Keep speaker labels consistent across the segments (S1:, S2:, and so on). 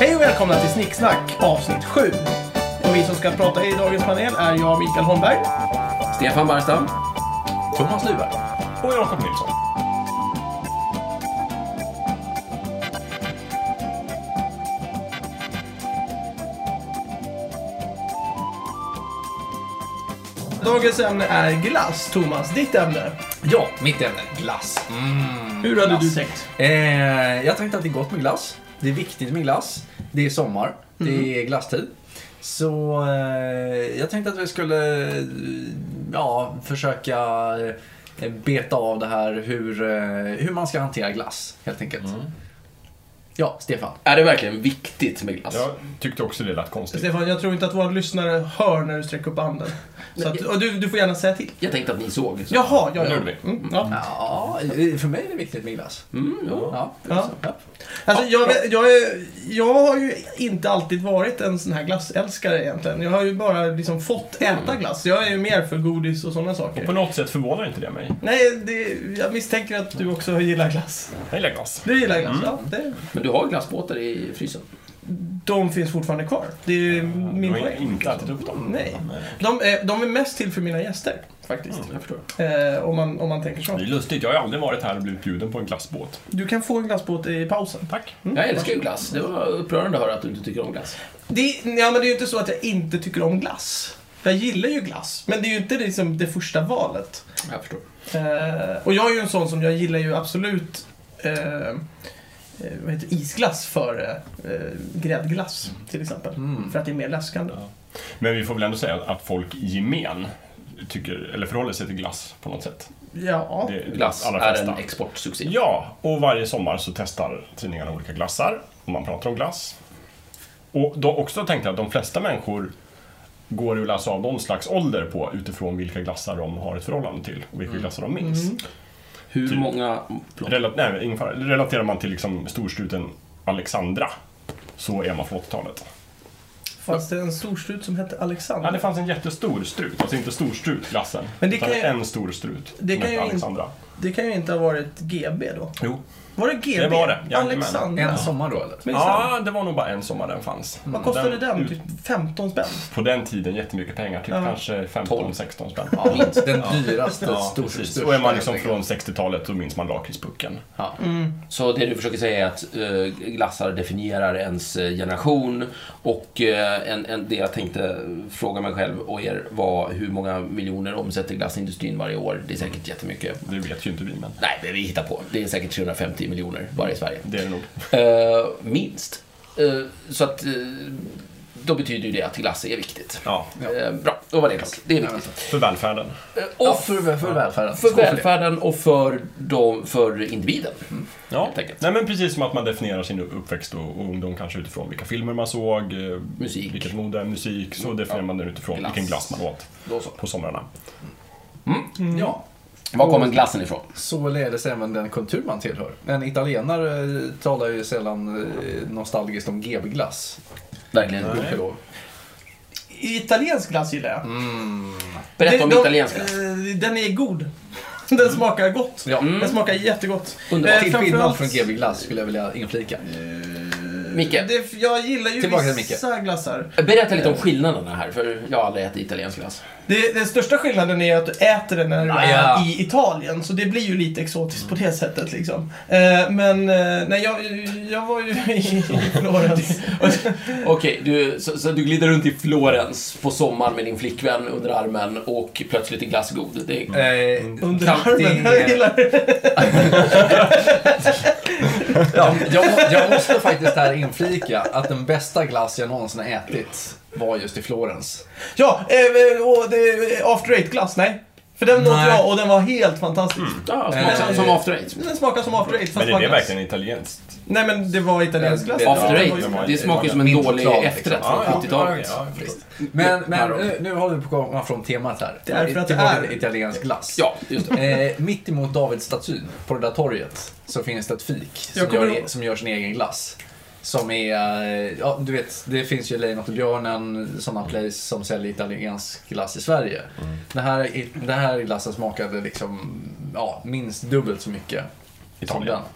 S1: Hej och välkomna till Snicksnack avsnitt 7. Och vi som ska prata i dagens panel är jag, Mikael Holmberg.
S2: Stefan Barstam.
S3: Thomas Lyberg.
S4: Och Jakob Nilsson.
S1: Dagens ämne är glass. Thomas, ditt ämne.
S2: Ja, mitt ämne. Glass. Mm.
S1: Hur hade du tänkt?
S2: Eh, jag tänkte att det är gott med glass. Det är viktigt med glass. Det är sommar.
S4: Mm.
S2: Det är glasstid. Så eh, jag tänkte att vi skulle eh, ja, försöka eh, beta av det här hur, eh, hur man ska hantera glass helt enkelt.
S4: Mm.
S2: Ja, Stefan.
S3: Är det verkligen viktigt med glass?
S4: Jag tyckte också det lät konstigt.
S1: Stefan, jag tror inte att våra lyssnare hör när du sträcker upp handen. Så att, och du, du får gärna säga till.
S3: Jag tänkte att ni såg. Så.
S1: Jaha, ja, ja.
S4: Nu blir det.
S1: Mm, ja.
S2: Ja, eh, för mig är det viktigt med glass.
S3: Mm, ja.
S2: Ja,
S1: Ja.
S2: ja.
S1: Alltså, jag, vet- jag, är, jag har ju inte alltid varit en sån här glassälskare egentligen. Jag har ju bara liksom fått äta glass. Jag är ju mer för godis och sådana
S4: Och på
S1: saker.
S4: något sätt förvånar inte det mig.
S1: Nej, det, jag misstänker att du också gillar glass. Mm.
S4: Jag gillar glass.
S1: Du gillar glass, ja. Det,
S3: Men du har glassbåtar i frysen?
S1: de finns fortfarande kvar. Det är ju min
S4: Jag har
S1: poäng.
S4: inte ätit upp dem. eh,
S1: Nej. De är, de är mest till för mina gäster, faktiskt.
S4: Mm,
S3: Jag förstår.
S1: Eh, om, man, om man tänker
S4: Det är
S1: så.
S4: lustigt, jag har ju aldrig varit här och blivit bjuden på en glassbåt.
S1: Du kan få en glassbåt i pausen.
S4: Tack.
S3: Jag älskar ju glass. Det var upprörande att höra att du inte tycker om glass.
S1: Det, ja, men det är ju inte så att jag inte tycker om glass. Jag gillar ju glass, men det är ju inte liksom det första valet.
S3: Jag förstår.
S1: Eh, och jag är ju en sån som jag gillar ju absolut eh, eh, vad heter det? isglass före eh, gräddglass till exempel. För att det är mer läskande.
S4: Men vi får väl ändå säga att folk i gemen tycker, eller förhåller sig till glass på något sätt.
S1: Ja.
S4: Det är
S3: Glass
S4: allra
S3: är
S4: flesta.
S3: en exportsuccé.
S4: Ja, och varje sommar så testar tidningarna olika glassar. Och man pratar om glass. Och då också tänkte jag att de flesta människor går ju att läsa av någon slags ålder på utifrån vilka glassar de har ett förhållande till och vilka glassar de minns.
S3: Hur
S4: Typ.
S3: många... Förlåt.
S4: Relat, nej, ungefär. Relaterar man till liksom storstruten Alexandra så är man från 80-talet.
S1: Fanns det en storstrut som hette Alexander?
S4: Ja, det fanns en jättestor strut, alltså inte storstrut glassen.
S1: Men det
S4: utan
S1: kan ju-
S4: en stor strut.
S1: det
S4: som
S1: kan
S4: hette
S1: ju in-
S4: Alexandra.
S1: Det kan ju inte ha varit GB då.
S4: Jo.
S1: Var det GB?
S4: Det var det, jajamän.
S1: Alexander.
S2: En sommar då eller?
S1: Men sen,
S4: Mm. Ja, det var nog bara en sommar Mm. den fanns.
S1: vad kostade den?
S4: ut-
S1: Typ 15 spänn?
S4: På den tiden jättemycket pengar, typ
S1: Ja.
S4: kanske 15-16 spänn. Ja.
S2: Minst den dyraste, stor,
S4: precis.
S2: största.
S4: Och är man liksom
S2: helt
S4: från
S2: enkelt.
S4: 60-talet så minns man lakritspucken.
S2: Ja.
S3: Så det du försöker säga är att eh, glassar definierar ens eh, generation och eh, en, en, det jag tänkte fråga mig själv och er var hur många miljoner omsätter glassindustrin varje år? Det är säkert jättemycket.
S4: Det vet ju inte vi, men
S3: Nej, men vi hittar på. Det är säkert 350 miljoner bara i Sverige.
S4: det är det nog.
S3: Eh, minst. Eh, så att eh, då betyder ju det att glass är viktigt.
S4: Ja.
S3: Eh, bra, då var det klart. Det är viktigt.
S4: För välfärden.
S3: Eh,
S2: Ja,
S3: och
S2: för, för välfärden.
S3: för
S2: Skål det.
S3: välfärden och för, de, för individen.
S4: Ja.
S3: Helt enkelt.
S4: Nej, men precis som att man definierar sin uppväxt och och ungdom kanske utifrån vilka filmer man såg, eh,
S3: Musik. Mm.
S4: vilket mode, musik, så definierar man den utifrån
S3: Glass.
S4: vilken glass man åt
S3: Då så.
S4: på somrarna. Mm.
S2: Ja.
S3: Var kommer glassen ifrån?
S2: Således även den kultur man tillhör. En italienare eh, talar ju sällan eh, nostalgiskt om GB-glass.
S3: Verkligen.
S2: gudskelov.
S1: Italiensk glass gillar jag.
S3: Berätta om
S1: Det- de-
S3: italiensk glass.
S1: eh, Den är god. Den smakar gott.
S2: Ja.
S1: Den smakar jättegott.
S3: Underbart.
S1: Eh,
S2: Till skillnad
S1: framförallt-
S2: från GB-glass skulle jag vilja inflika.
S3: Micke,
S1: Det, jag gillar ju
S2: Tillbaka till
S1: vissa glassar.
S3: berätta lite om skillnaderna här, för jag har aldrig ätit italiensk glass.
S1: Det, den största skillnaden är att du äter den när du
S2: Ah,
S1: är
S2: ja.
S1: i Italien. Så det blir ju lite exotiskt på det sättet liksom. Eh, men eh, nej, jag, jag var ju i Florens.
S3: Okej, du, så, så du glider runt i Florens på sommaren med din flickvän under armen och plötsligt är glass god. Det är,
S1: Under
S2: Kan-
S1: armen.
S2: det-
S1: Jag gillar det.
S2: Ja, jag, jag måste faktiskt här inflika att den bästa glass jag någonsin har ätit var just i Florens.
S1: Ja, eh, och det, After Eight-glass, nej. För den åt
S2: Nej.
S1: jag och den var helt fantastisk.
S3: ja, smakar Eh, som- som after eight.
S1: Den smakar som After Eight fast
S4: Men är det
S1: smakar-
S4: verkligen italienskt?
S1: Nej men det var italiensk glass.
S2: Ja,
S3: After
S1: Det var ju-
S3: eight, det smakar ju som en
S2: Min
S3: dålig
S2: choklad,
S3: efterrätt
S2: liksom.
S3: från 70-talet.
S4: Ah, ja, jag förstår.
S2: Men, men nu, nu håller vi på att komma från temat här.
S1: Det är för att det
S2: Tillbaka
S1: är-
S2: till italiensk glass.
S3: Ja, just det.
S2: Eh, mitt emot Davidsstatyn, på det där torget, så finns det ett fik som,
S1: Jag kommer
S2: gör,
S1: ihåg-
S2: som gör sin egen glass. Som är, eh, ja du vet, det finns ju Lejonet och björnen, sådana place som säljer italiensk glass i Sverige.
S4: Mm.
S2: Den, här, den här glassen smakade liksom, ja, minst dubbelt så mycket som
S4: Italien.
S2: den.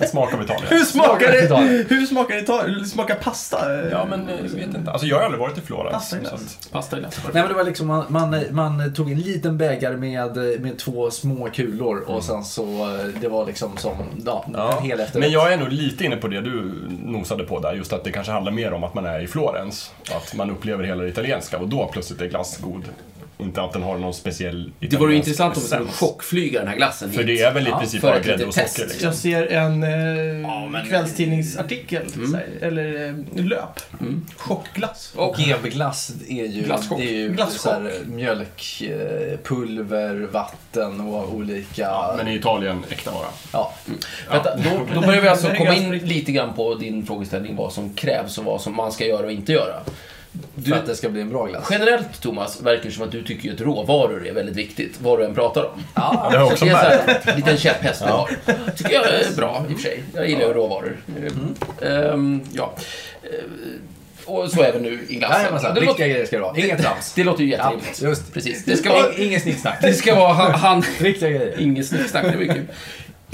S4: En smak av Italien.
S1: Hur smakar det?
S2: Italien.
S1: Hur smakar Italien? Smakar pasta?
S3: Ja, men eh, jag vet inte.
S4: Alltså jag har aldrig varit i Florens.
S1: Passar
S4: Så
S1: inte.
S4: att,
S3: Pasta är lätt.
S2: Nej men det var liksom, man, man, man tog en liten bägare med, med två små kulor och sen så, eh, det var liksom som, ja,
S4: Mm. ja.
S2: en hel efterrätt.
S4: Men jag är nog lite inne på det du nosade på där. Just att det kanske handlar mer om att man är i Florens. Att man upplever hela det italienska och då plötsligt är glass god. Inte att den har någon speciell
S3: Det vore ju
S4: italiensk
S3: intressant om vi skulle
S4: essens.
S3: chockflyga den här glassen
S4: För
S3: hit.
S4: det är väl i
S2: Ja,
S4: princip
S3: för
S4: bara
S3: ett
S4: grädde
S3: litet
S4: och socker.
S3: test.
S4: Liksom.
S1: Jag ser en eh,
S3: men- Mm.
S1: kvällstidningsartikel, så här, eller eh, löp. Chockglass.
S3: Och
S2: GB-glass är ju,
S3: Glasschock.
S2: det är ju
S1: Glasschock.
S2: så här, eh, mjölkpulver, eh, vatten och olika...
S4: Ja, men i Italien, äkta vara.
S2: ja.
S3: Mm, Vänta, då, då börjar vi alltså
S1: Det är
S3: komma in
S1: ganska riktigt.
S3: lite grann på din frågeställning vad som krävs och vad som man ska göra och inte göra.
S2: för
S3: Du,
S2: att det ska bli en bra glass.
S3: generellt Thomas, verkar det som att du tycker ju att råvaror är väldigt viktigt, vad du än pratar om.
S2: Ja,
S4: Det har jag också
S3: Det är en
S4: märkt.
S3: sån här liten käpphäst du har. tycker jag är bra i och för sig. Jag gillar ju råvaror.
S2: Mm.
S3: Ehm, ja. Ehm, och så även nu i glassen.
S2: Jajamensan,
S3: alltså, det,
S2: riktiga
S3: låter,
S2: grejer ska det vara. Inget trams.
S3: det låter ju
S2: Ja,
S3: jätterimligt.
S2: just.
S3: Precis. Det ska vara,
S2: Inget snicksnack.
S3: det ska vara han, han,
S2: Riktiga grejer.
S3: Inget snicksnack, det blir kul.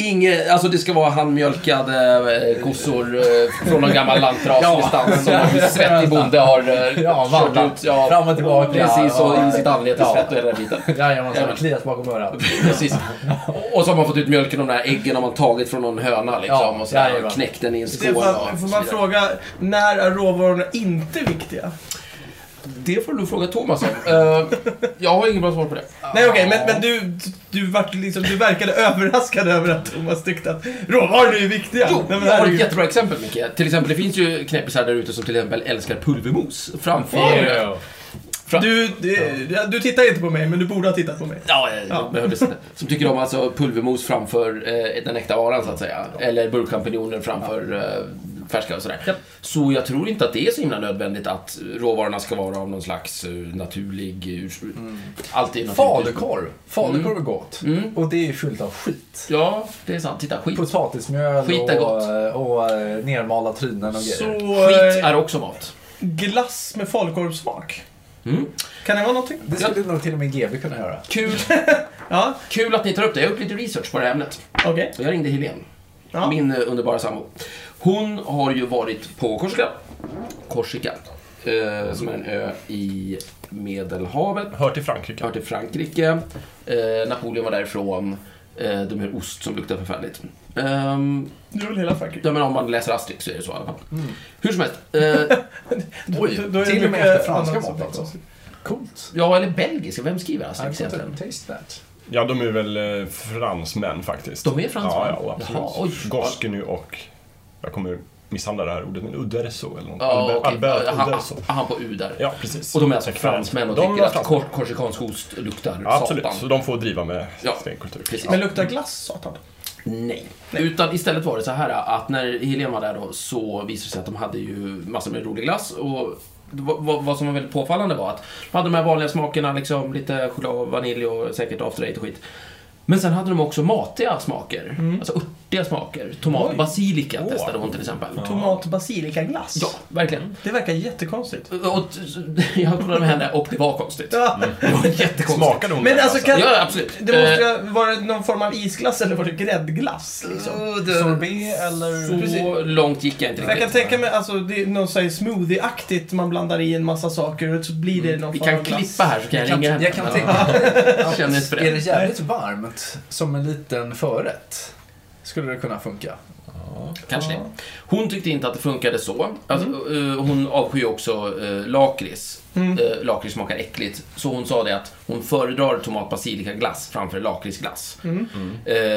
S3: Inge, alltså det ska vara handmjölkade eh, kossor eh, från någon gammal lantrasdistans som en svettig bonde har eh,
S2: Ja,
S3: kört
S2: vandrat
S3: ut. Ja,
S2: fram och tillbaka.
S3: Precis, och
S2: Ja.
S3: in sitt anlete
S2: Ja.
S3: svett och hela den biten.
S2: Jajamensan, klias bakom
S3: Mm.
S2: örat.
S3: Precis. Och så har man fått ut mjölken och de där äggen har man tagit från någon höna liksom.
S2: Ja,
S3: och så där,
S2: jajamän.
S3: och knäckt den i en skål.
S1: Stefan,
S3: och
S1: får
S3: så
S1: man
S3: vidare.
S1: fråga, när är råvarorna inte viktiga?
S3: Det får du fråga Thomas om. Eh, jag har ingen bra svar på det.
S1: Nej okej, men, men du, du, vart liksom, du verkade överraskad över att Thomas tyckte att råvaror är viktiga.
S3: Jo,
S1: Nej, men
S3: jag har ett
S1: herregud.
S3: jättebra exempel Micke. Till exempel, det finns ju knäppisar där ute som till exempel älskar pulvermos framför
S1: du, du, du tittar inte på mig, men du borde ha tittat på mig.
S3: Ja, ja, ja. det behövdes inte. Som tycker om alltså pulvermos framför eh, den äkta varan så att säga. Eller burkchampinjoner framför eh, färska och sådär. Så jag tror inte att det är så himla nödvändigt att råvarorna ska vara av någon slags eh, naturlig ursprung. Alltid naturligt ursprung.
S2: Falukorv.
S3: Mm.
S2: Falukorv är gott. Och det är ju fyllt av skit.
S3: Ja, det är sant. Titta, skit.
S2: Potatismjöl
S3: Skit är gott.
S2: och, och eh, nermalda trynen och
S1: Så,
S2: grejer.
S3: Skit
S1: eh,
S3: är också mat.
S1: glass med falukorvssmak.
S3: Mm.
S1: Kan det vara någonting?
S2: Det skulle nog till och med GB kunna göra.
S3: Kul,
S1: Ja,
S3: kul att ni tar upp det. Jag har gjort lite research på det här ämnet.
S1: okej.
S3: Så jag ringde Helene,
S1: Ja.
S3: min eh, underbara sambo. Hon har ju varit på Korsika. Korsika. Eh, som är en ö i Medelhavet.
S4: Hör till Frankrike.
S3: Hör till Frankrike. Eh, Napoleon var därifrån. Eh, de gör ost som luktar förfärligt. Ehm,
S1: Nu är väl hela Frankrike.
S3: ja, men om man läser Asterix så är det så i alla fall. Hur som helst. Eh,
S2: Oj,
S1: Mm. Då- då är det
S2: till och med
S1: mycket
S2: efter franska
S1: annat som
S2: mat
S1: är
S2: alltså.
S1: konstigt.
S2: Coolt.
S3: ja, eller belgiska. Vem skriver
S2: I
S3: Asterix egentligen?
S2: couldn't taste that.
S4: Ja, de är väl eh, fransmän faktiskt.
S3: De är fransmän?
S4: Ja, ja absolut.
S3: Jaha, oj.
S4: Goskenu och... Jag kommer misshandla det här ordet, men Uderzo eller något.
S3: Ja,
S4: Albert,
S3: okej.
S4: Albert
S3: Ja, han,
S4: Uderzo.
S3: han på U där.
S4: Ja, precis.
S3: Och de är alltså
S4: Exakt.
S3: fransmän och
S4: De
S3: tycker
S4: är
S3: att
S4: fransmän.
S3: kor- korsikansk ost luktar
S4: Ja, absolut,
S3: satan.
S4: så de får driva med
S3: Ja,
S4: sin kultur.
S3: precis.
S1: Men luktar glass satan?
S3: Nej. Utan istället var det så här att när Helene var där då så visade det sig att de hade ju massor med rolig glass och det var- vad, vad som var väldigt påfallande var att de hade de här vanliga smakerna, liksom lite choklad, och vanilj och säkert after eight och skit. Men sen hade de också matiga smaker, alltså örtiga smaker. Tomat,
S1: Mm. Oj.
S3: basilika
S4: Åh.
S3: testade hon till exempel.
S1: Tomat basilikaglass?
S3: Ja, verkligen.
S1: Det verkar jättekonstigt.
S3: Och jag kollade med henne och det var konstigt.
S1: Ja.
S3: Det var jättekonstigt.
S4: Smakade hon
S1: Men
S4: det?
S1: alltså kan...
S3: Ja, absolut.
S1: Det
S3: Eh,
S1: måste ju vara någon form av isglass eller var det gräddglass liksom?
S2: Sorbet eller...
S3: Så långt gick jag inte
S1: Jag kan
S3: riktigt.
S1: tänka mig, alltså det är någon sån här smoothie-aktigt man blandar i en massa saker och så blir det någon
S3: Mm, Vi
S1: form
S3: kan
S1: av glass.
S3: klippa här så kan jag ringa henne.
S2: Jag kan tänka
S3: Jag känner inte för
S2: Är det
S3: det.
S2: jävligt varmt som en liten förrätt? Skulle det kunna funka?
S3: Kanske det. Hon tyckte inte att det funkade så. Alltså, eh, hon avskyr också eh, lakrits. Eh, lakrits smakar äckligt. Så hon sa det att hon föredrar tomat basilika glass framför lakritsglass. Eh,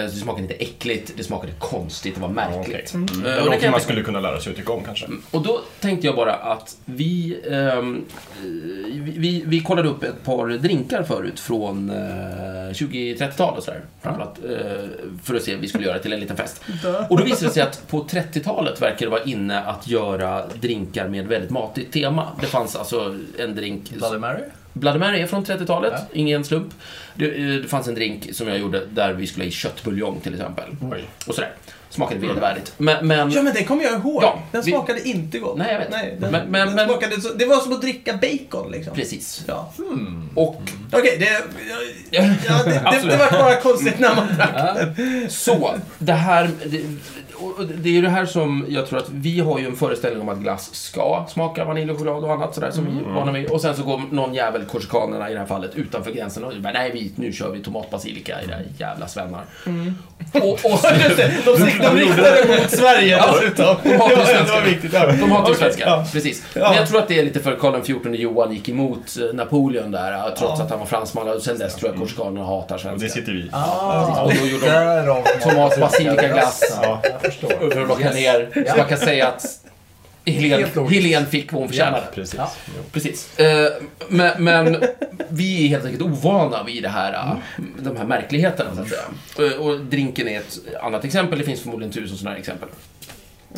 S3: så det smakade inte äckligt, det smakade konstigt, det var
S4: Ja, okej.
S3: märkligt.
S4: Mm.
S3: Eh,
S4: Det
S3: och
S4: är
S3: det kan Mm.
S4: något
S3: jag
S4: man
S3: tycka-
S4: skulle kunna lära sig att tycka om kanske.
S3: Och då tänkte jag bara att vi, ehm, eh, vi, vi, vi kollade upp ett par drinkar förut från eh, 20-30-talet och sådär. Framförallt eh, för att se vad vi skulle göra till en liten fest.
S1: Dö.
S3: Och då visade det sig att på 30-talet verkar det vara inne att göra drinkar med väldigt matigt tema. Det fanns alltså en drink
S2: Bloody Mary?
S3: Bloody Mary är från 30-talet, ingen slump. Det, eh, det fanns en drink som jag gjorde där vi skulle ha i köttbuljong till exempel.
S4: Oj.
S3: Och sådär. Smakade vedervärdigt. Men, men
S1: Ja, men det kommer jag ihåg.
S3: Ja,
S1: den
S3: vi-
S1: smakade inte gott.
S3: Nej, jag vet.
S1: den,
S3: Men- men-
S1: den
S3: men-
S1: smakade så, det var som att dricka bacon liksom.
S3: precis.
S1: Ja. Mm.
S3: Och
S1: Okej, det, ja, ja, det, det, det var bara konstigt när man drack.
S3: Så, det här... Det, och det är ju det här som jag tror att vi har ju en föreställning om att glass ska smaka vanilj och choklad och annat sådär som
S1: Mm.
S3: vi är vana vid. Och sen så går någon jävel, korsikanerna i det här fallet, utanför gränsen och bara nej, vi, nu kör vi tomatbasilika, era jävla svennar.
S1: Mm.
S3: Och, och så,
S1: Just det, de, de, de riktade det mot Sverige
S3: Ja.
S1: dessutom. Det var, det var viktigt. Ja.
S3: de hatar ju
S1: Okej,
S3: svenskar,
S1: ja.
S3: precis.
S1: Ja.
S3: Men jag tror att det är lite för Karl XIV Johan gick emot eh, Napoleon där, eh, trots
S1: Ja.
S3: att han var fransman. Och sen dess tror jag korsikanerna hatar svenskar.
S4: Och det sitter vi i.
S2: Ah,
S3: Och då gjorde de
S2: därav
S3: Tomat, basilika, glass.
S2: Ja, jag förstår.
S3: för att plocka ner. Så man kan säga att Helen,
S2: Helt logiskt.
S3: Helen fick vad hon förtjänade.
S4: Precis.
S2: Ja.
S4: Jo.
S3: Precis. Eh, men, men vi är helt enkelt ovana vid det här, eh, de här märkligheterna, så att säga. Eh, och drinken är ett annat exempel. Det finns förmodligen tusen sådana här exempel.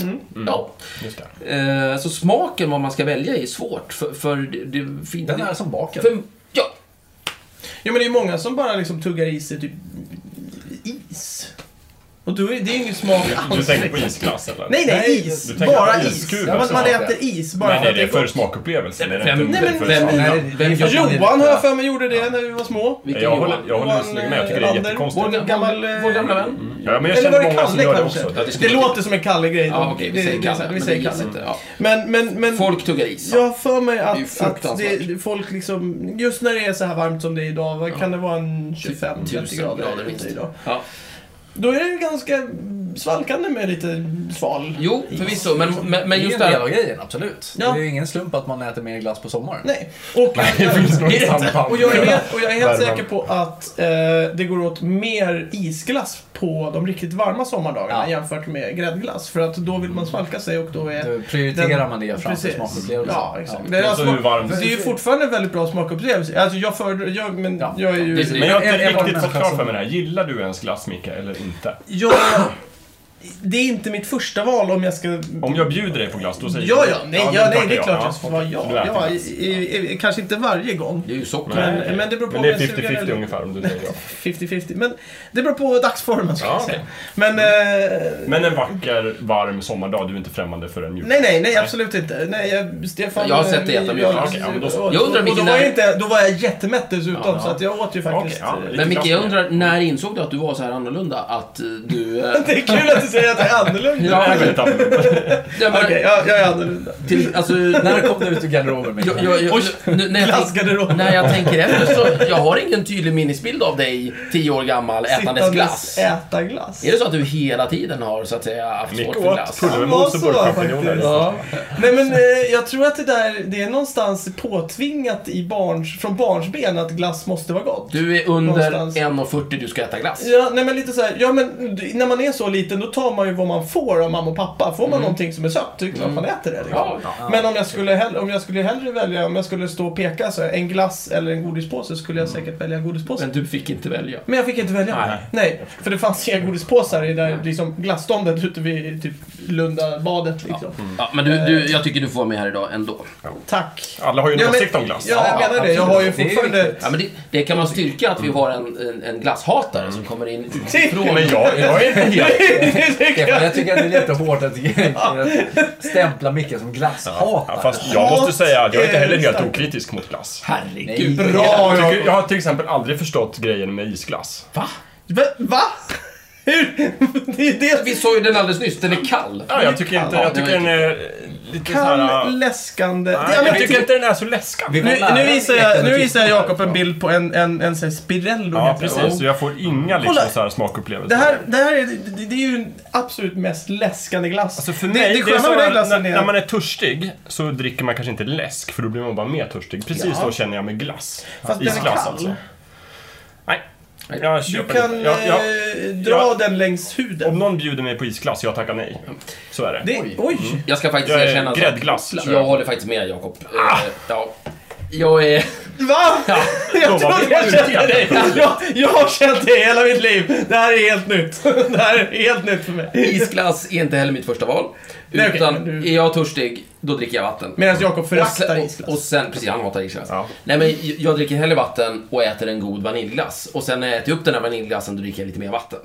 S3: Mm. Ja.
S4: Just det.
S3: Eh, så smaken, vad man ska välja, är svårt. För, för det, det fin-
S2: Den är som baken.
S3: för, Ja,
S1: Jo, men det är många som bara liksom tuggar i sig typ is. Och då är det är ju ingen smak alls.
S4: Du tänker på isglass eller?
S1: Nej, nej,
S2: Nej,
S1: is.
S4: du tänker
S1: Bara
S4: på
S1: is.
S4: iskuber
S1: Ja, men
S4: som
S1: man
S2: har det.
S1: äter is bara
S4: Men
S1: för
S4: är
S1: att det
S4: det
S1: är
S4: för
S1: gott.
S4: smakupplevelsen? Är det
S3: Vem-
S4: inte
S1: nej,
S4: för
S3: vem-
S4: smak?
S3: nej. Vem-
S1: Johan har jag för mig gjorde det när vi var små.
S3: vilken
S4: Jag
S3: Johan.
S4: håller, jag håller mm.
S1: Johan,
S4: visserligen med, jag tycker det
S1: eh,
S4: är
S1: Lander.
S4: jättekonstigt.
S3: Vår, gamla-
S1: Gammal, eh,
S3: vår gamla vän.
S4: Ja, men jag
S1: Eller var
S4: känner
S1: det
S4: många som
S1: Kalle
S4: gör det
S1: kanske?
S4: också.
S3: Ja,
S1: det,
S3: det skulle-
S1: låter som en Kalle-grej.
S3: Ja, okej, vi
S1: Det-
S3: säger
S1: det är sant,
S3: Kalle.
S1: Vi
S3: men
S1: säger
S3: det gills
S1: Kalle.
S3: inte, ja.
S1: Men, men, men...
S3: Folk tuggar is.
S1: Jag har för mig
S3: Det är ju
S1: att, att
S3: fruktansvärt.
S1: det, folk liksom, just när det är så här varmt som det är idag, vad kan det vara en 25-30
S3: Tusen
S1: Typ grader,
S3: grader
S1: ute
S3: minst.
S1: idag?
S3: Ja.
S1: Då är det ganska svalkande med lite sval.
S3: Jo, förvisso. Men, men, men just det
S2: det är en
S3: här.
S2: del av grejen, absolut.
S1: Ja.
S2: Det är ingen slump att man äter mer glass på sommaren.
S1: Nej. Och,
S4: Det finns nog ett
S1: Det är rätt.
S4: samband.
S1: och, jag är helt, och jag är helt
S4: Värmen.
S1: säker på att eh, det går åt mer isglass på de riktigt varma sommardagarna
S2: Ja.
S1: jämfört med gräddglass. För att då vill man svalka sig och då är...
S2: Då prioriterar
S1: Den-
S2: man det framför
S1: Precis.
S2: smakupplevelsen.
S1: Ja, exakt.
S2: Ja.
S1: Det, är
S4: Alltså,
S1: smak-
S4: hur varmt-
S1: det är ju fortfarande en väldigt bra smakupplevelse. Alltså jag föredrar... Jag, men
S2: Ja.
S1: jag är ju...
S3: Precis.
S4: Men jag har
S2: Jag-
S4: inte
S2: jag- jag
S4: riktigt
S2: var
S4: fått
S2: den
S4: klart
S2: som-
S4: för mig det här. Gillar du ens glass, Mika, eller inte?
S1: Jag, det är inte mitt första val om jag ska...
S4: Om jag bjuder dig på glass, då säger
S1: Ja,
S4: du
S1: ja, nej, ja,
S4: men
S1: nej, det är klart jag
S4: ja.
S1: ska vara jag.
S4: Du äter
S1: Ja,
S4: glass.
S1: i, i, i, kanske inte varje gång.
S3: Det är ju socker.
S1: Men,
S4: Nej.
S1: men det beror på
S4: Men det är
S1: om jag suger
S4: 50-50
S1: eller-
S4: ungefär om du säger ja.
S1: 50-50. Men det beror på dagsformen ska
S4: Ja,
S1: jag
S4: okej. Mm.
S1: säga. Men... Eh,
S4: Men en vacker, varm sommardag, du är inte främmande för en mjuk
S1: Nej, nej, nej, absolut inte. Nej, jag, Stefan,
S3: Jag har sett det
S1: eh,
S3: jättemycket.
S1: jag-
S4: Okej, ja, men då så.
S1: och- och-
S3: Jag undrar
S1: och då
S3: vilken
S1: var jag,
S3: där-
S1: inte, då var jag jättemätt dessutom,
S4: Ja, ja.
S1: så att jag åt ju faktiskt...
S4: Okej, ja, men-
S3: Men Micke, jag undrar, när insåg du att du var så här annorlunda? Att eh, du... eh,
S1: Det är kul att du säger att jag är annorlunda.
S3: Ja,
S4: Nej, vänta.
S3: ja, men,
S1: Okej, jag, jag är annorlunda.
S3: till, alltså, när,
S2: När kom du ut ur garderoben? Mikael?
S3: jag, jag, jag, nu, när, jag, tänk-
S1: Glassgarderoben.
S3: när jag tänker efter så, jag har ingen tydlig minnesbild av dig, tio år gammal, ätandes glass.
S1: Äta glass.
S3: Är det så att du hela tiden har, så att säga, haft svårt
S4: Micke
S3: för
S4: åt
S3: glass?
S4: pulvermos och
S1: Ja, så var det
S4: burkchampinjoner.
S1: faktiskt.
S3: Ja.
S1: Nej men eh, jag tror att det där, det är någonstans påtvingat i barns, från barnsben att glass måste vara gott.
S3: Du är under
S1: Någonstans.
S3: 1,40, du ska äta glass.
S1: Ja, nej men lite så här, ja men d- när man är så liten då tar man ju vad man får av mamma och pappa. Får man någonting som är sött, då är det klart man äter det. Liksom.
S3: Mm. Ja,
S1: Men om jag, skulle hellre, om jag skulle hellre välja, om jag skulle stå och peka så här, en glass eller en godispåse, skulle jag säkert välja en godispåse.
S3: Mm. Men du fick inte välja.
S1: Men jag fick inte välja.
S3: Nej.
S1: för det fanns inga godispåsar i där, liksom, glasståndet ute vid typ Lundabadet. Liksom.
S3: Ja, Mm. men du, du, jag tycker du får vara med här idag ändå.
S1: Tack.
S4: Alla har ju en
S1: Ja, men-
S4: åsikt om glass.
S1: Ja, jag
S2: Ja,
S1: menar det. Jag
S2: absolut.
S1: har ju
S2: Det är ju
S1: fortfarande...
S3: Ja, men det, det kan vara styrka att vi har en, en, en glasshatare som kommer in utifrån.
S4: Men jag, jag är inte helt...
S2: Stefan, jag tycker att det är lite hårt att, att stämpla Micke som glasshatare.
S4: Ja, fast jag måste säga att jag är inte heller helt okritisk mot glass.
S3: Herregud.
S2: Nej.
S1: Bra!
S4: Jag,
S1: Jag...
S4: tycker, jag har till exempel aldrig förstått grejen med isglass.
S3: Va?
S1: Va? Va? Hur? Det är det
S3: Vi sa ju den alldeles nyss, den är kall.
S4: Ja, jag tycker inte, jag
S3: det var
S4: tycker den är lite såhär...
S1: Kall, läskande.
S4: Nej,
S1: Ja, men
S4: jag tycker inte den är så läskande.
S1: Nu, nu visar jag, nu visar jag Jakob en bild på en, en, en sån här Spirello.
S4: Ja,
S1: heter det, va?
S4: precis. Så jag får inga liksom,
S1: Kolla.
S4: så här smakupplevelser.
S1: Det här, det här är, det, det är ju den absolut mest läskande glass.
S4: Alltså för mig, det,
S1: det,
S4: är
S1: sköna
S4: som
S1: med den
S4: när,
S1: glassen är...
S4: när man är törstig så dricker man kanske inte läsk för då blir man bara mer törstig. Precis så känner jag med glass. alltså.
S1: Fast den är kall.
S4: Nej, jag
S1: du
S4: köper
S1: kan
S4: inte. Jag, jag,
S1: eh, dra
S4: jag-
S1: den längs huden.
S4: om någon bjuder mig på isglass, jag tackar nej. Så är det.
S1: Det, oj!
S3: Jag ska faktiskt
S4: Jag är
S3: erkänna... en sak.
S4: gräddglass, tror jag.
S3: Jag håller faktiskt med Jakob. Eh, Ja. Jag är...
S1: Va?
S3: Ja.
S1: Jag
S4: Då var
S1: trodde
S4: vi
S1: jag
S4: ute.
S1: kände dig. Jag, jag har känt dig hela mitt liv. Det här är helt nytt. Det här är helt nytt för mig.
S3: Isglass är inte heller mitt första val.
S1: Nej, okej,
S3: utan
S1: men du-
S3: är jag törstig, då dricker jag vatten.
S1: Medan Jakob
S3: Och sen,
S1: föraktar
S3: och, och
S1: isglass.
S3: sen, precis, han hatar isglass.
S4: Ja.
S3: Nej men jag- jag dricker hellre vatten och äter en god vaniljglass. Och sen när jag äter upp den här vaniljglassen, då dricker jag lite mer vatten.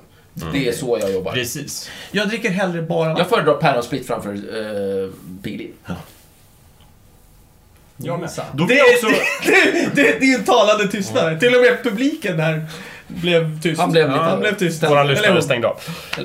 S3: Det är så jag jobbar.
S4: Precis.
S1: Jag dricker hellre bara
S3: Jag
S1: vatten.
S3: föredrar päronsplit framför eh, Piggelin.
S4: Jag med.
S2: Sant.
S4: Då vill
S1: Det
S4: jag
S1: är,
S4: också...
S1: det, det, det, det är en talande tystnad. här. Till och med publiken där blev tyst.
S3: Han blev lite-
S1: han blev tyst.
S4: Våra
S1: Eller
S4: lyssnare
S1: hon.
S4: stängde av.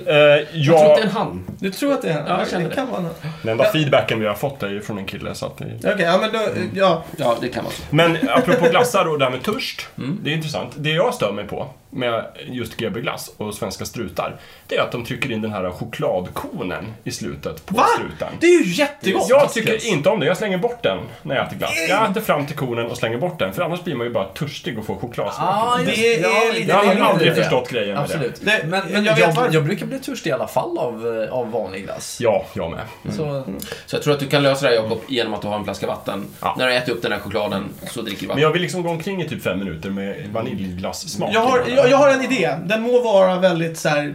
S4: Eh,
S3: Jag tror inte det är
S4: jag,
S3: en han.
S1: Du tror att det är han?
S3: Ja, jag känner
S1: det kan vara han.
S4: den enda feedbacken vi har fått är ju från en kille. Så att vi...
S1: Okej, ja men då, ja.
S3: Ja, det kan vara så.
S4: Men apropå glassar och det här med törst.
S1: Mm.
S4: Det är intressant. Det jag stör mig på med just GB glass och svenska strutar. Det är att de trycker in den här chokladkonen i slutet på
S1: Va?
S4: struten.
S1: Det är ju jättegott!
S4: Jag tycker inte om det. Jag slänger bort den när jag äter glass. Jag äter fram till konen och slänger bort den. För annars blir man ju bara törstig och får chokladsmak.
S2: Ah,
S1: Det
S2: just-
S1: är
S2: ja,
S1: lite-
S4: Jag har
S2: lite
S4: aldrig
S2: det.
S4: förstått grejen med det.
S2: Absolut.
S1: Det-
S2: Men,
S1: jag
S2: men jag,
S1: vet
S2: jag,
S1: varför.
S2: brukar bli törstig i alla fall av, eh, av vanlig glass.
S4: Ja, jag med.
S1: Mm.
S2: Så,
S3: Så jag tror att du kan lösa det här Jakob genom att du har en flaska vatten.
S4: Ja.
S3: När du äter upp den här chokladen så dricker du
S4: Men
S3: vatten.
S4: jag vill liksom gå omkring i typ fem minuter med vaniljglassmak.
S1: Jag har, jag, jag har en idé. Den må vara väldigt så här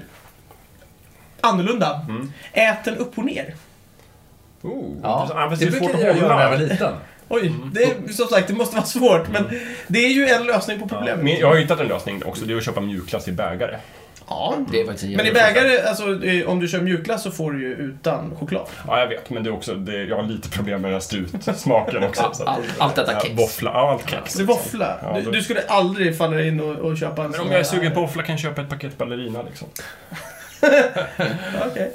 S1: annorlunda. Ät den upp och ner.
S4: Oh,
S2: ja.
S4: ja, fast
S2: det
S4: det är svårt
S2: brukade
S4: att
S2: jag göra när jag var
S4: hålla.
S2: liten.
S1: Oj, det är, som sagt, det måste vara svårt. Men det är ju en lösning på
S4: Ja,
S1: problemet.
S4: men jag har ju hittat en lösning också. Det är att köpa mjukglass i bägare.
S1: Ja.
S3: Det är faktiskt en
S1: Men i
S3: jävla fråga.
S1: bägare, alltså eh, om du kör mjukglass så får du ju utan choklad.
S4: Ja, jag vet. Men det är också, det, jag har lite problem med den här strutsmaken också. Så.
S3: Allt, allt detta
S4: Ja,
S3: kex.
S4: Våffla, ja allt kex.
S1: Du våffla.
S4: Ja,
S1: du,
S4: då-
S1: du skulle aldrig falla dig in och, och köpa en
S4: Men
S1: sån
S4: om
S1: här-
S4: jag är sugen på våffla kan jag köpa ett paket ballerina liksom.
S1: Ja, Okej.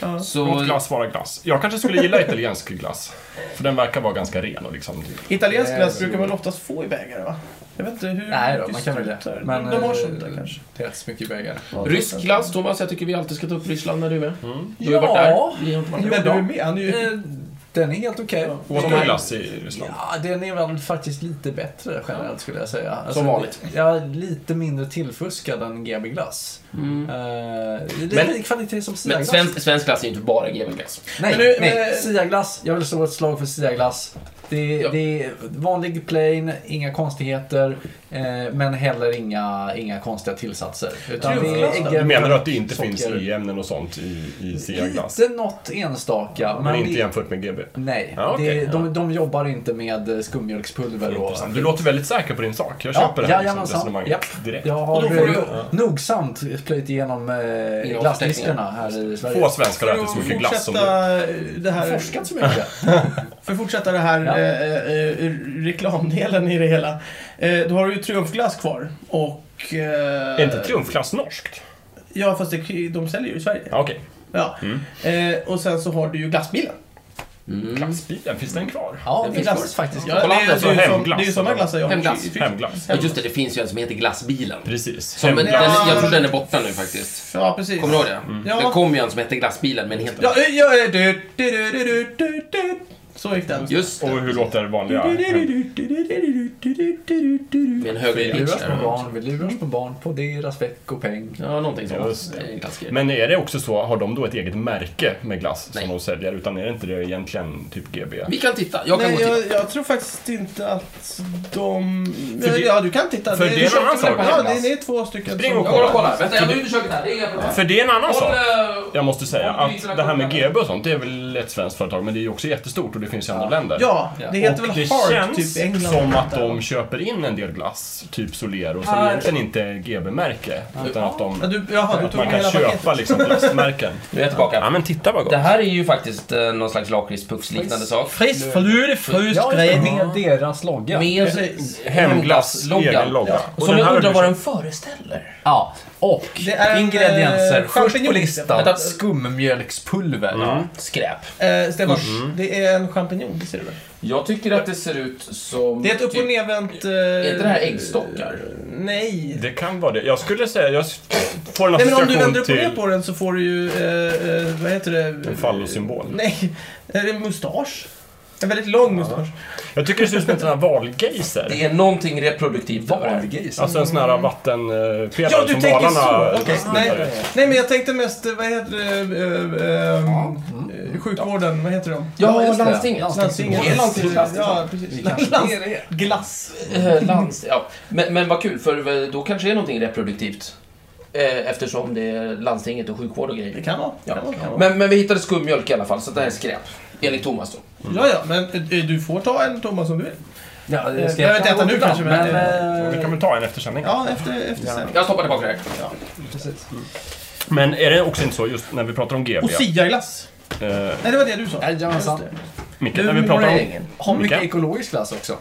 S4: Låt
S3: Så
S4: glass vara glass. Jag kanske skulle gilla italiensk glass. För den verkar vara ganska ren och liksom...
S1: Italiensk
S2: Nej,
S1: glass
S2: det-
S1: brukar man oftast få i bägare va? Jag vet inte hur...
S2: Nej då,
S1: mycket
S2: man kan välja.
S1: strutar.
S2: Men,
S1: de har
S2: eh,
S1: sånt där kanske.
S2: Det är rätt så mycket bägare.
S3: rysk glass, Thomas. Jag tycker vi alltid ska ta upp Ryssland när du är med.
S4: Mm.
S3: Du har ju
S2: Ja.
S3: varit där. Vi har inte varit där.
S1: Men
S2: Jo
S1: du
S2: då.
S1: är med, han är ju...
S2: Eh, Den är helt okej.
S4: Åt du glass i Ryssland?
S2: Ja, den är väl faktiskt lite bättre generellt skulle jag säga. Alltså,
S3: Som vanligt.
S2: Ja, lite mindre tillfuskad än GB Glass. Eh, det är
S3: Men-
S2: lite kvalitet som Sia
S3: Men
S2: Glass.
S3: svensk, svensk glass är ju inte bara GV-glass.
S2: Nej,
S1: Men nu-
S2: nej.
S1: men-
S2: Sia Glass. Jag vill slå ett slag för Sia Glass. Det,
S3: Ja.
S2: det är vanlig plain, inga konstigheter, eh, men heller inga, inga konstiga tillsatser. Utan det
S1: Trumfglass då?
S2: är
S4: Du
S2: äggen,
S4: menar att det inte
S2: socker.
S4: finns i-ämnen och sånt i, i Sia-glass?
S2: Lite något enstaka,
S4: Men
S2: men
S4: inte
S2: det-
S4: jämfört med GB?
S2: Nej,
S4: Ja, okej,
S2: det,
S4: ja.
S2: de, de jobbar inte med skummjölkspulver och...
S4: Intressant. Du låter väldigt säker på din sak. Jag köper det här liksom,
S2: jajamensan.
S4: resonemanget
S2: Japp.
S4: direkt.
S2: Jag
S1: Och
S2: har
S1: då får du-
S2: eh, nogsamt plöjt igenom eh,
S3: Innehållsförteckningar.
S2: glassdiskarna här i Sverige.
S4: Få svenskar har ätit så
S1: För att
S4: mycket glass som du.
S1: fortsätta det
S2: Jag har
S1: här,
S2: forskat så mycket.
S1: för att fortsätta det här
S2: Ja.
S1: eh, eh, reklamdelen i det hela. Eh, då har du ju triumfglass kvar och... Eh,
S4: Är inte triumfglass norskt?
S1: Ja, fast det, de säljer ju i Sverige.
S4: Ja, Mm. Okej.
S1: Ja. Eh, och sen så har du ju glassbilen.
S4: Glassbilen, finns den kvar?
S2: Ja,
S3: Det
S2: det
S3: finns
S2: finns faktiskt.
S1: Ja, det,
S4: alltså
S1: det, är ju som, det
S4: hemglass.
S1: är ju sådana glassar jag har.
S3: Hemglass.
S4: Hemglass.
S3: Ja, just det, det finns ju en som heter Glassbilen.
S4: Precis.
S3: Som, den,
S4: Hemglass.
S3: jag tror den är borta nu faktiskt.
S1: Ja, precis.
S3: Kommer du ihåg det?
S4: Mm.
S1: Ja.
S3: Det kom ju en som hette Glassbilen, men heter
S1: Ja, eh, ja, eh, du, du, du, du, du, du, du. Så gick den.
S3: Just
S4: Och
S3: det.
S4: hur låter vanliga...
S1: Du, du, du, du, du, du, du, du, du, du, du.
S3: Med en högre
S4: Vi
S2: Vi
S3: pitch
S2: luras på
S3: där.
S2: barn, vi luras på barn på deras veckopeng.
S3: Ja, någonting
S4: Just
S3: sånt.
S4: det.
S3: Det är en klassiker.
S4: Men är det också så, har de då ett eget märke med glass
S3: Nej.
S4: som de säljer? Utan är det inte det egentligen typ GB?
S3: Vi kan titta. Jag kan
S1: Nej,
S3: gå och titta.
S1: jag, jag tror faktiskt inte att de...
S4: För det-
S1: ja, du kan titta.
S4: för det är
S1: du
S4: en
S1: köpte
S4: annan
S1: väl-
S4: sak.
S1: Ja, det, det är två stycken
S4: Spring
S1: som...
S4: och
S3: Jag går och kollar. Vänta, jag går ut i köket här. Det är inga problem.
S4: För det är en annan sak.
S3: Håll, eh,
S4: Jag måste säga
S3: Om du inte
S4: att det här med
S3: kollar.
S4: GB och sånt, det är väl ett svenskt företag, men det är ju också jättestort och det finns i andra länder.
S1: Ja,
S2: Ja.
S1: det heter
S4: och
S1: väl
S4: det
S1: Hard,
S4: känns
S1: typ England.
S4: som
S1: och sånt
S4: att
S1: där.
S4: de köper in en del glass, typ Solero, som
S3: Ah.
S4: egentligen inte är GB-märke. Utan att de,
S1: Ja, du, jaha, du
S4: att
S1: tog
S4: man kan
S1: hela
S4: köpa
S1: paketet.
S4: liksom glassmärken.
S3: Nu är jag tillbaka.
S4: men titta vad
S3: Det här är ju faktiskt eh, någon slags lakritspucksliknande sak.
S1: Frisk förlur, frust
S2: Ja,
S1: grej.
S2: med deras logga.
S3: Med
S1: Precis.
S4: Hemglass, egen logga. Och
S3: Som
S4: den här
S3: jag undrar vad
S4: översätt-
S3: den föreställer.
S2: Ja, och
S1: Det är en,
S2: ingredienser.
S1: eh,
S2: Först på
S1: champinjon.
S2: listan,
S3: Vänta.
S2: skummjölkspulver.
S4: Mm.
S3: Skräp.
S1: Eh, Stefan, det är en champinjon, det ser du väl?
S3: Mm. Jag tycker att det ser ut som...
S1: Det är ett upp och
S3: typ-
S1: nervänt... Eh,
S3: Är inte det här äggstockar?
S1: Nej.
S4: Det kan vara det. Jag skulle säga, jag s- får en
S1: Nej, men om du
S4: association
S1: vänder upp och ner
S4: till
S1: på den så får du ju... Eh, eh, vad heter det?
S4: en fallosymbol.
S1: Nej, det är en mustasch. En väldigt lång mustasch.
S4: Jag tycker det ser ut som en sån här valgeiser.
S3: Det är någonting reproduktivt över det här.
S2: Valgris.
S4: Alltså en sån här vattenpelare
S1: Ja, du
S4: som
S1: tänker
S4: valarna eh,
S1: så! Okej,
S4: snubblar
S1: nej,
S4: i.
S1: nej, men jag tänkte mest, eh, vad heter det, äh, sjukvården, vad heter de?
S2: Ja, just det.
S5: landstinget.
S2: Landstinget.
S5: Det är landstingsglass.
S1: Ja,
S2: Vi
S1: precis.
S2: kanske-
S1: Lands-
S5: Det är det.
S1: Glass.
S5: Eh, Lands, ja. men, men vad kul, för eh, då kanske det är någonting reproduktivt. Eh, Eftersom det är landstinget och sjukvård och
S1: Det
S5: grejer.
S1: kan vara.
S5: Ja.
S1: Ja, kan vara, kan vara.
S5: Men, men vi hittade skummjölk i alla fall, så det här är skräp. Enligt Thomas då.
S1: ja, ja, men eh, du får ta en Thomas om du vill.
S2: Ja,
S1: Eh,
S2: det ska
S1: jag vet inte nu kanske, men- eh,
S4: Vi kan väl ta en eftersändning.
S1: Ja, efter, efter sen.
S5: Jag stoppar tillbaka det här.
S2: Precis.
S4: Men är det också inte så, just när vi pratar om GB,
S1: Och Sia-glass.
S4: eh,
S1: Nej, det var det du sa.
S2: Jajamensan.
S1: Just det.
S4: Micke,
S2: Du
S4: när vi pratar om,
S2: har mycket
S4: Micke?
S2: ekologisk glass också.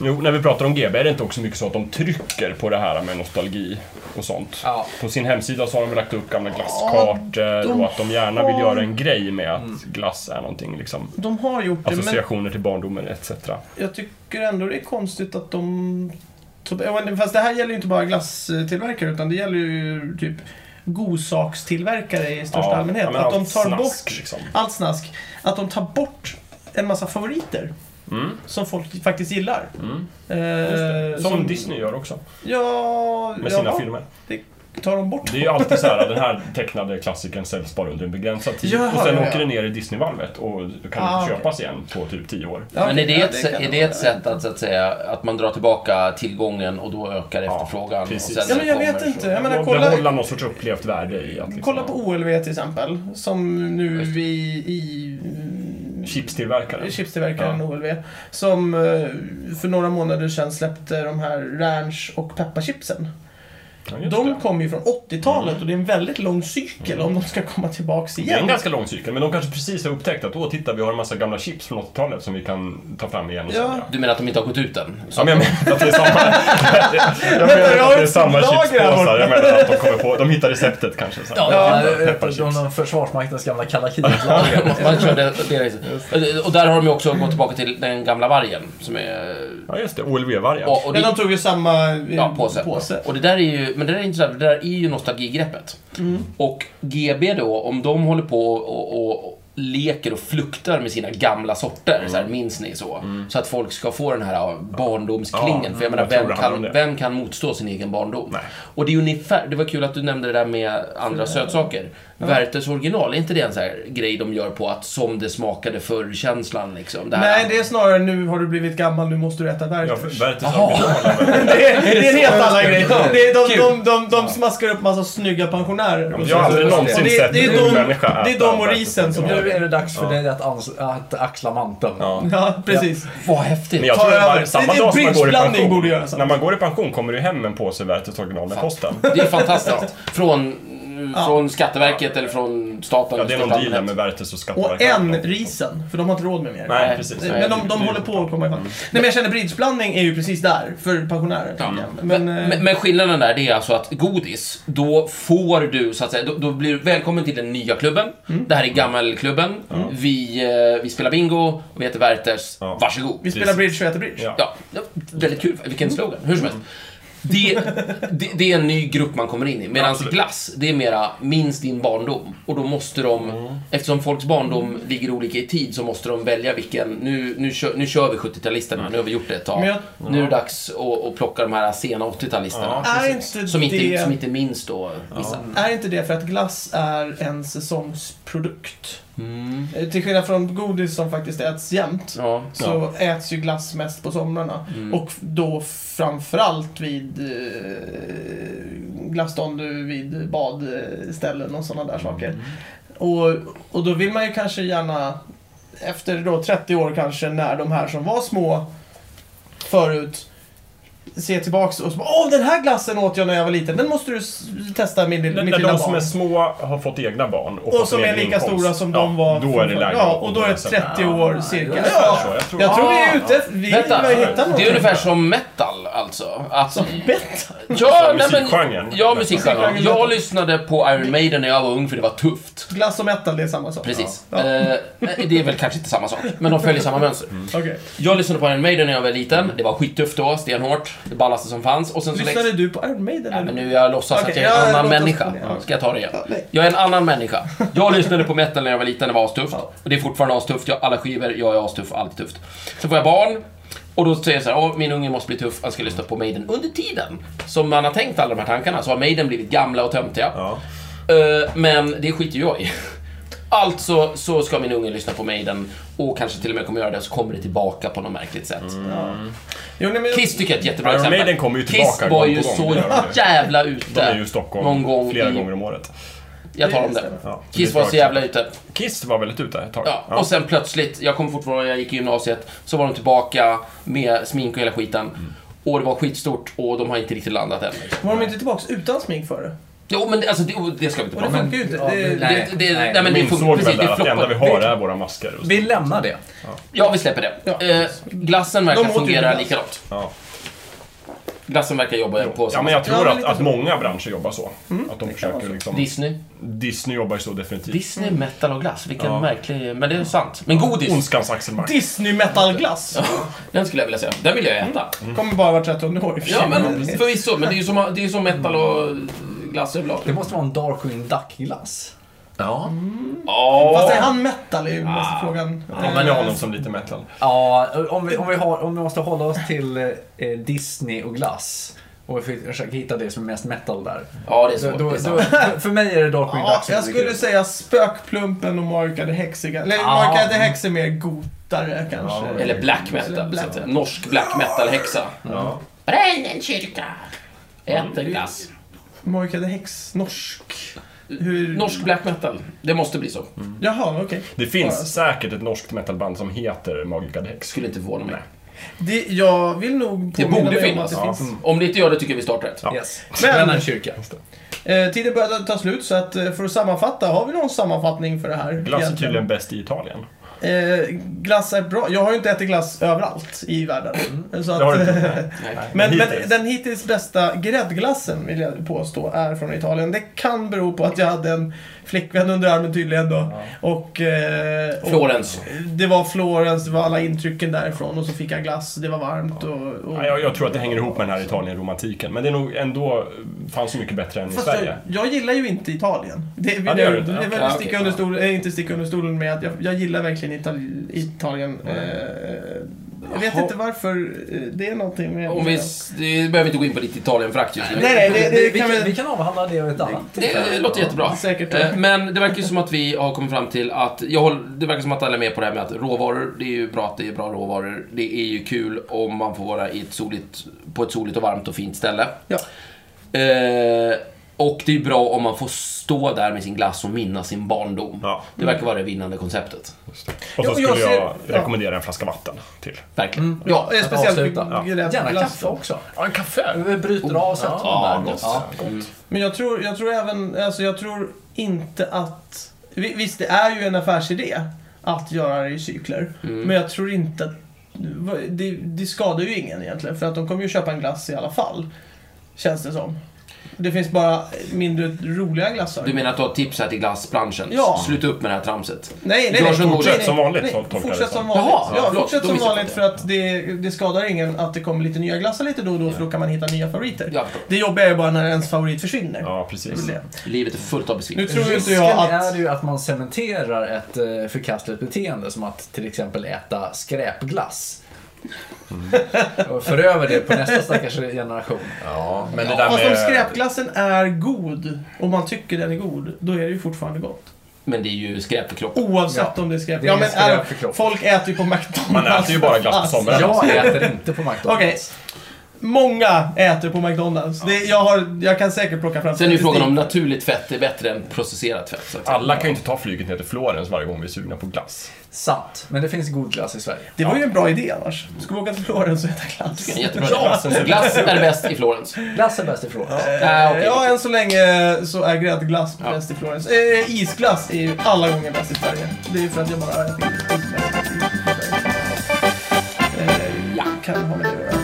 S4: jo, när vi pratar om GB är det inte också mycket så att de trycker på det här med nostalgi och sånt?
S2: Ja.
S4: På sin hemsida så har de väl lagt upp gamla glasskartor och att de gärna vill
S1: har-
S4: göra en grej med att glass är någonting liksom
S1: De har gjort det, men
S4: associationer till barndomen etc.
S1: jag tycker ändå det är konstigt att de... Fast det här gäller ju inte bara glasstillverkare, utan det gäller ju typ godsakstillverkare i största
S4: Ja,
S1: allmänhet.
S4: ja, men
S1: att de
S4: allt
S1: tar
S4: snask,
S1: bort...
S4: liksom.
S1: Allt snask. Att de tar bort en massa favoriter.
S4: Mm.
S1: Som folk faktiskt gillar.
S4: Mm.
S1: Eh,
S4: Som, Disney gör också
S1: Ja...
S4: med sina
S1: ja,
S4: filmer.
S1: Tar de bort
S4: Det är ju alltid så här den här tecknade klassikern säljs bara under en begränsad tid
S1: Ja,
S4: och sen
S1: ja, ja.
S4: åker den ner i Disneyvalvet och kan
S1: Ah,
S4: inte
S1: okej.
S4: köpas igen på typ 10 år.
S1: Ja,
S3: Men är det,
S1: ja,
S3: ett, sä-
S1: kan
S3: är
S1: de
S3: det
S1: göra.
S3: ett sätt att, så att säga, att man drar tillbaka tillgången och då ökar
S4: Ja,
S3: efterfrågan? och
S4: precis.
S3: sen
S1: Ja, men jag
S3: kommer
S1: vet
S3: så-
S1: inte. Jag menar,
S4: Och
S1: kolla...
S4: behålla liksom. någon sorts upplevt värde i att liksom,
S1: Kolla på OLW till exempel, som nu
S3: Just.
S1: vi i mm,
S4: chipstillverkare.
S1: chipstillverkaren
S4: Ja.
S1: OLW, som eh, för några månader sedan släppte de här ranch och pepparchipsen.
S4: Ja, just
S1: De
S4: det. Mm.
S1: kommer ju från 80-talet och det är en väldigt lång cykel om de ska komma tillbaks
S4: Det är en
S1: igen.
S4: ganska lång cykel, men de kanske precis har upptäckt att åh, titta, vi har en massa gamla chips från 80-talet som vi kan ta fram igen och
S1: Ja.
S4: sälja.
S3: Du menar att de inte har gått ut än? Så
S4: Ja, men jag menar att det är samma... Jag menar
S1: jag har
S4: att det är
S1: ett
S4: samma
S1: lager här
S4: chipspåsar.
S1: borta.
S4: Jag menar att de kommer på... De hittar receptet kanske. Så. här.
S2: Ja,
S4: Pepparchips.
S2: Från Försvarsmaktens gamla kalla kriget
S3: man körde det. liksom- Och där har de ju också gått tillbaka till den gamla vargen. Som är,
S4: Ja, just det. OLW-vargen.
S3: och, och det,
S1: Men de tog ju samma eh,
S3: ja, påse.
S1: påse.
S3: Och det där är ju, men det där är intressant, för det där är ju nostalgigreppet.
S4: Mm.
S3: Och GB då, om de håller på och, och leker och fluktar med sina gamla sorter,
S4: Mm.
S3: så här, minns ni så? Så att folk ska få den här barndomsklingen.
S4: Ja,
S3: för jag menar,
S4: jag tror
S3: vem
S4: det handlar om
S3: kan,
S4: det.
S3: vem kan motstå sin egen barndom?
S4: Nej.
S3: Och det är ungefär, det var kul att du nämnde det där med andra sötsaker. Werthers original, är inte det en så här grej de gör på att som det smakade förr-känslan liksom? Det här-
S1: Nej, det är snarare nu har du blivit gammal, nu måste du äta
S4: Ja,
S1: Werthers.
S4: Werthers
S3: Jaha.
S4: original.
S1: Det är, det är en helt annan grej. Det är de, de,
S3: Kul.
S1: de, de smaskar upp massa snygga pensionärer.
S4: Jag har aldrig någonsin
S1: Och det-
S4: sett
S1: det är
S4: en
S1: de-
S4: människa äta
S1: det är de och
S4: Werthers
S1: risen som
S4: original.
S1: gör
S2: Nu är det dags för dig att, ans- att axla manteln.
S4: Ja.
S1: Ja, precis.
S3: Vad häftigt!
S4: Men jag
S1: Ta
S4: tror att
S1: över.
S4: man, samma
S1: Det är
S4: dag som man går i
S1: bridgeblandning
S4: pension,
S1: borde göra så.
S4: när man går i pension kommer du hem en påse Werthers original med posten.
S3: Det är fantastiskt. Från,
S1: Ja.
S3: från Skatteverket eller från staten.
S4: Ja, det är någon deal där
S3: allmänhet.
S4: med Werthers och
S1: Och
S4: Skatteverket.
S1: en risen, för de har inte råd med mer.
S4: Nej, precis.
S1: Men de, de
S4: Det-
S1: håller på att komma ifatt. Nej men jag känner bridgeblandning är ju precis där, för pensionärer. tänker
S4: Mm.
S1: jag. Men, eh,
S3: Men, men skillnaden där det är alltså att godis, då får du så att säga, då, då blir du välkommen till den nya klubben.
S4: Mm.
S3: Det här är gammelklubben. Vi, eh, vi spelar bingo, och vi heter Werthers.
S4: Ja.
S3: Varsågod.
S1: vi spelar bridge och äter bridge.
S4: Ja.
S3: Ja, ja, väldigt kul. Vilken
S1: Mm.
S3: slogan. Hur som helst. Det, det, det är en ny grupp man kommer in i. Medan
S4: Absolut.
S3: glass, det är mera minns din barndom. Och då måste de,
S1: Mm.
S3: eftersom folks barndom ligger olika i tid, så måste de välja vilken. Nu, nu, kör, nu kör vi 70-talisterna, nu har vi gjort det ett tag.
S1: Men jag-
S3: Nu är det dags att, att plocka de här sena 80-talisterna.
S1: Är, inte
S3: Som inte,
S1: det,
S3: som inte minns då vissa.
S1: är inte det för att glass är en säsongsprodukt? Eh, Till skillnad från godis som faktiskt äts jämt.
S3: Mm. Ja. Mm.
S1: Så äts ju glass mest på somrarna.
S4: Mm.
S1: Och då framförallt vid eh, glasstånd, vid badställen och sådana där
S4: Mm.
S1: saker. Och, och då vill man ju kanske gärna, efter då 30 år kanske, när de här som var små förut se tillbaks och så bara, åh den här glassen åt jag när jag var liten, den måste du s- testa min,
S4: När
S1: mitt
S4: när
S1: lilla
S4: de
S1: barn.
S4: som är små har fått egna barn och,
S1: Och
S4: fått
S1: som
S4: en
S1: är
S4: egen
S1: lika
S4: inkomst,
S1: stora som
S4: ja,
S1: de var.
S4: Då är det
S1: från-
S4: läge
S1: Ja,
S4: att
S1: och då är det
S4: återresa.
S1: 30 år cirka.
S4: ungefär
S1: Ja,
S4: så, jag tror-
S1: jag tror vi är ute, vi
S3: Vänta,
S1: vi hittar något.
S3: det är ungefär som metal alltså. Att,
S1: Bättre.
S3: ja,
S4: Som
S3: nej, men,
S4: musikgenren.
S3: ja, musikgenren.
S1: Musikgenren.
S3: Jag lyssnade på Iron Maiden när jag var ung för det var tufft.
S1: Glass och metal, det är samma sak.
S3: Precis.
S1: Ja. Ja.
S3: Eh, det är väl kanske inte samma sak, men de följer samma mönster.
S1: Okej.
S3: Jag lyssnade på Iron Maiden när jag var liten. Det var skittufft då, stenhårt. Det ballaste som fanns. Och sen så
S1: Lyssnade du på Iron Maiden?
S3: Nej,
S1: eller?
S3: men nu jag låtsas
S1: Okej,
S3: att jag är en
S1: ja,
S3: annan
S1: låt oss-
S3: människa.
S1: ja.
S3: Ska jag ta det igen?
S1: Ja, nej.
S3: Jag är en annan människa. Jag lyssnade på metal när jag var liten, det var astufft. Och det är fortfarande astufft, jag, alla skivor, jag är astuff, allt är tufft. Så får jag barn. Och då säger jag så här, "Åh, min unge måste bli tuff, han ska lyssna på Maiden. Under tiden som man har tänkt alla de här tankarna så har Maiden blivit gamla och töntiga.
S4: Ja.
S3: Eh, men det skiter ju jag i. Alltså så ska min unge lyssna på Maiden och kanske till och med kommer göra det så kommer det tillbaka på något märkligt sätt.
S1: Ja. Jo, nej, men jag-
S3: Kiss tycker jag är ett jättebra
S4: Iron
S3: exempel.
S4: Maiden kommer ju
S3: Kiss
S4: tillbaka
S3: var
S4: gång
S3: ju
S4: på gång,
S3: så
S4: det gör de ju.
S3: jävla
S4: De
S3: ute.
S4: är ju i Stockholm
S3: någon gång
S4: flera
S3: i,
S4: gånger om året.
S3: Jag tar om det.
S4: Ja, så det är
S3: Kiss
S4: ett
S3: var
S4: bra
S3: så
S4: exempel.
S3: jävla ute.
S4: Kiss var väldigt ute ett tag.
S3: Ja, och sen plötsligt, jag kommer fortfarande när jag gick i gymnasiet, så var de tillbaka med smink och hela skiten.
S4: Mm.
S3: Och det var skitstort och de har inte riktigt landat än.
S1: Var de inte tillbaks utan smink för det?
S3: Jo, men det, alltså, det, och det ska vi inte
S1: Och det
S3: prata om.
S1: funkar ju inte.
S2: ja,
S1: Det,
S2: men-
S1: det,
S3: Det, det, nej, men
S4: de
S3: det funkar
S4: insåg
S3: precis.
S4: väl
S3: Det
S4: där att det enda vi
S3: floppar.
S4: har är våra masker.
S2: Vi lämnar det.
S3: Ja, vi släpper det.
S1: Ja.
S3: Eh, glassen
S1: De
S3: verkar
S1: åt ju
S3: fungera
S1: glass.
S3: likadant.
S4: Ja.
S3: Glassen verkar jobba på
S4: Ja,
S3: samma
S4: men jag tror
S1: Ja, men
S4: att,
S1: lite
S4: att
S1: så.
S4: många branscher jobbar så. Att de
S1: vara
S4: försöker
S1: så.
S4: liksom...
S3: Disney.
S4: Disney jobbar ju så definitivt.
S3: Disney, metal och glass. Vilken
S4: Ja.
S3: märklig... Men det är sant. Men godis,
S4: Ondskans Axel Mark.
S1: Disney metalglass. Mm.
S3: den skulle jag vilja säga. Den vill jag äta.
S1: Kommer bara vart 13 år i och för
S3: Ja,
S1: sig.
S3: men förvisso. Men det är ju som, det är ju som metal och glass överlag.
S2: Det måste vara en Darkwing Duck-glass.
S3: Ja.
S1: Fast
S3: Ja.
S1: är han metal? är ju mest frågan.
S4: Ja, men jag har honom som lite metal.
S2: Ja, om vi, om, vi har, om vi måste hålla oss till eh, Disney och glass och vi får försöka hitta det som är mest metal där.
S3: Ja, det är svårt.
S2: Då, då,
S3: det är
S2: då,
S3: sant.
S2: för mig är det Darkwing
S1: Ja,
S2: Duck som
S1: jag
S2: ligger
S1: skulle
S2: ut.
S1: säga spökplumpen och Marka the Hexigan. Eller
S2: Ja.
S1: Marka the Hex är mer gotare kanske.
S3: Eller black metal.
S1: Black-
S3: Så att säga. Norsk black metal-häxa.
S4: Ja.
S3: Bränn en kyrka! Äter glass.
S1: Marka the Hex, norsk. Hur...
S3: Norsk black metal. Det måste bli så.
S1: Jaha, okej.
S4: Det finns säkert ett norskt metalband som heter Magica the Hex.
S3: Skulle inte förvåna mig.
S1: Det, jag vill nog
S3: Det
S1: påminna
S3: borde
S1: mig om
S3: finnas.
S1: att det
S4: Ja.
S1: finns.
S3: Om det inte gör det tycker jag vi startar ett.
S2: Yes.
S1: Men-
S2: Men en kyrka.
S1: Eh, tiden börjar ta slut, så att, eh, för att sammanfatta, har vi någon sammanfattning för det här?
S4: Glass är
S1: egentligen?
S4: tydligen bäst i Italien.
S1: Eh, glass är bra. Jag har ju inte ätit glass överallt i världen. Eh, Så
S4: Mm. Det har
S1: att,
S4: du inte.
S3: Nej.
S1: men, men
S4: hittills.
S1: den hittills bästa gräddglassen vill jag påstå är från Italien. Det kan bero på att jag hade en flickvän under armen tydligen då. Och, eh, och
S3: Florens.
S1: det var Florens, det var alla intrycken därifrån och så fick jag glass, det var varmt och... och...
S4: Nej, Jag, jag tror att det hänger ihop med den här Italien-romantiken. Men det är nog ändå... Fanns så mycket bättre än i
S1: Fast
S4: Sverige.
S1: jag, jag gillar ju inte Italien. Det vill
S4: Ja, det gör
S1: jag
S4: du
S1: det
S4: inte.
S1: vill jag
S3: Ja,
S1: sticka
S3: okej.
S1: under stol, äh, inte sticka under stolen med att jag, jag gillar verkligen Ital, Italien. Eh, jag vet
S3: Jaha.
S1: inte varför. eh, Det är någonting med...
S3: Om vi, det behöver inte gå in på ditt Italienfrakt just nu.
S1: Nej, nej, det,
S2: vi,
S1: det
S2: vi,
S1: kan
S2: kan, vi
S1: vi...
S2: kan avhandla det vid ett annat
S3: Det eh, låter jättebra.
S1: Säkert.
S3: Eh, Men det verkar ju som att vi har kommit fram till att, jag håller, det verkar som att alla är med på det här med att råvaror, det är ju bra att det är bra råvaror. Det är ju kul om man får vara i ett soligt, på ett soligt och varmt och fint ställe.
S1: Ja.
S3: Eh, och det är bra om man får stå där med sin glass och minnas sin barndom.
S4: Ja.
S3: Det verkar vara det vinnande konceptet.
S4: Och så
S1: Ja, jag
S4: skulle jag
S1: ser- ja.
S4: rekommendera en flaska vatten till.
S3: Verkligen.
S1: Ja, eh,
S2: att
S1: speciellt
S2: avsluta.
S1: med
S2: Gärna
S1: gräddglass.
S2: kaffe också.
S4: Ja, en kaffe!
S2: Vi bryter av sötman
S3: Ja,
S2: där.
S3: gott.
S2: Ja.
S1: Men jag tror, jag tror även, alltså jag tror inte att... vi- Visst, det är ju en affärsidé att göra det i cykler.
S3: Mm.
S1: Men jag tror inte att... Det, det skadar ju ingen egentligen, för att de kommer ju köpa en glass i alla fall. Känns det som. Det finns bara mindre roliga glassar.
S3: Du menar att du har tips här till glassbranschen?
S1: Ja.
S3: Sluta upp med det här tramset.
S1: Nej, nej,
S3: Gör
S1: nej.
S3: som
S1: nej,
S3: fortsätt
S1: nej,
S4: som vanligt,
S1: nej,
S4: så tolkar jag
S1: Fortsätt
S4: det som.
S1: som vanligt.
S3: Jaha,
S1: ja,
S3: förlåt,
S1: fortsätt
S3: då
S1: som
S3: missade jag
S1: vanligt
S3: det.
S1: för att det, det skadar ingen att det kommer lite nya glassar lite då och då för då kan man hitta nya favoriter.
S3: Jag förstår.
S1: Det jobbiga är ju bara när ens favorit försvinner.
S4: Ja,
S1: Det är väl
S4: precis.
S1: det.
S3: Livet är fullt av
S1: Nu
S3: besvikelser.
S1: tror ju inte
S2: Risken
S1: jag
S2: är
S1: att...
S2: ju att man cementerar ett eh, förkastligt beteende som att till exempel äta skräpglass.
S3: Mm.
S2: Och för över det på nästa stackars generation.
S4: Ja, men det
S1: Fast om skräpglassen är god, och man tycker den är god, då är det ju fortfarande gott.
S3: Men det är ju skräp för kroppen.
S1: Oavsett
S2: Ja,
S1: om det är skräp.
S2: det är
S1: Ja, men
S2: skräp
S1: är,
S2: för kroppen.
S1: folk äter ju på McDonalds.
S4: Man äter ju bara glass på sommaren.
S2: Jag äter inte på McDonalds.
S1: Okej. Många äter på McDonalds. Det, jag, har, jag kan säkert plocka fram
S3: Sen är ju frågan om
S1: statistik.
S3: naturligt fett är bättre än processerat fett. Så att säga.
S4: Alla kan ju inte ta flyget ner till Florens varje gång vi är sugna på glass.
S2: Sant. Men det finns god glass i Sverige.
S1: Det var ju en bra idé annars. Ska vi åka till Florens och äta glass?
S3: En jättebra
S4: Ja.
S3: idé. Glass är bäst i Florens.
S2: Glass är bäst i Florens.
S3: Äh, okej.
S1: Ja, än så länge så är gräddglass
S3: Ja.
S1: bäst i Florens. Eh, isglass är ju alla gånger bäst i Sverige. Det är ju för att jag bara äter isglass i Sverige. Eh,
S3: Ja.
S1: Kan ha med det att göra.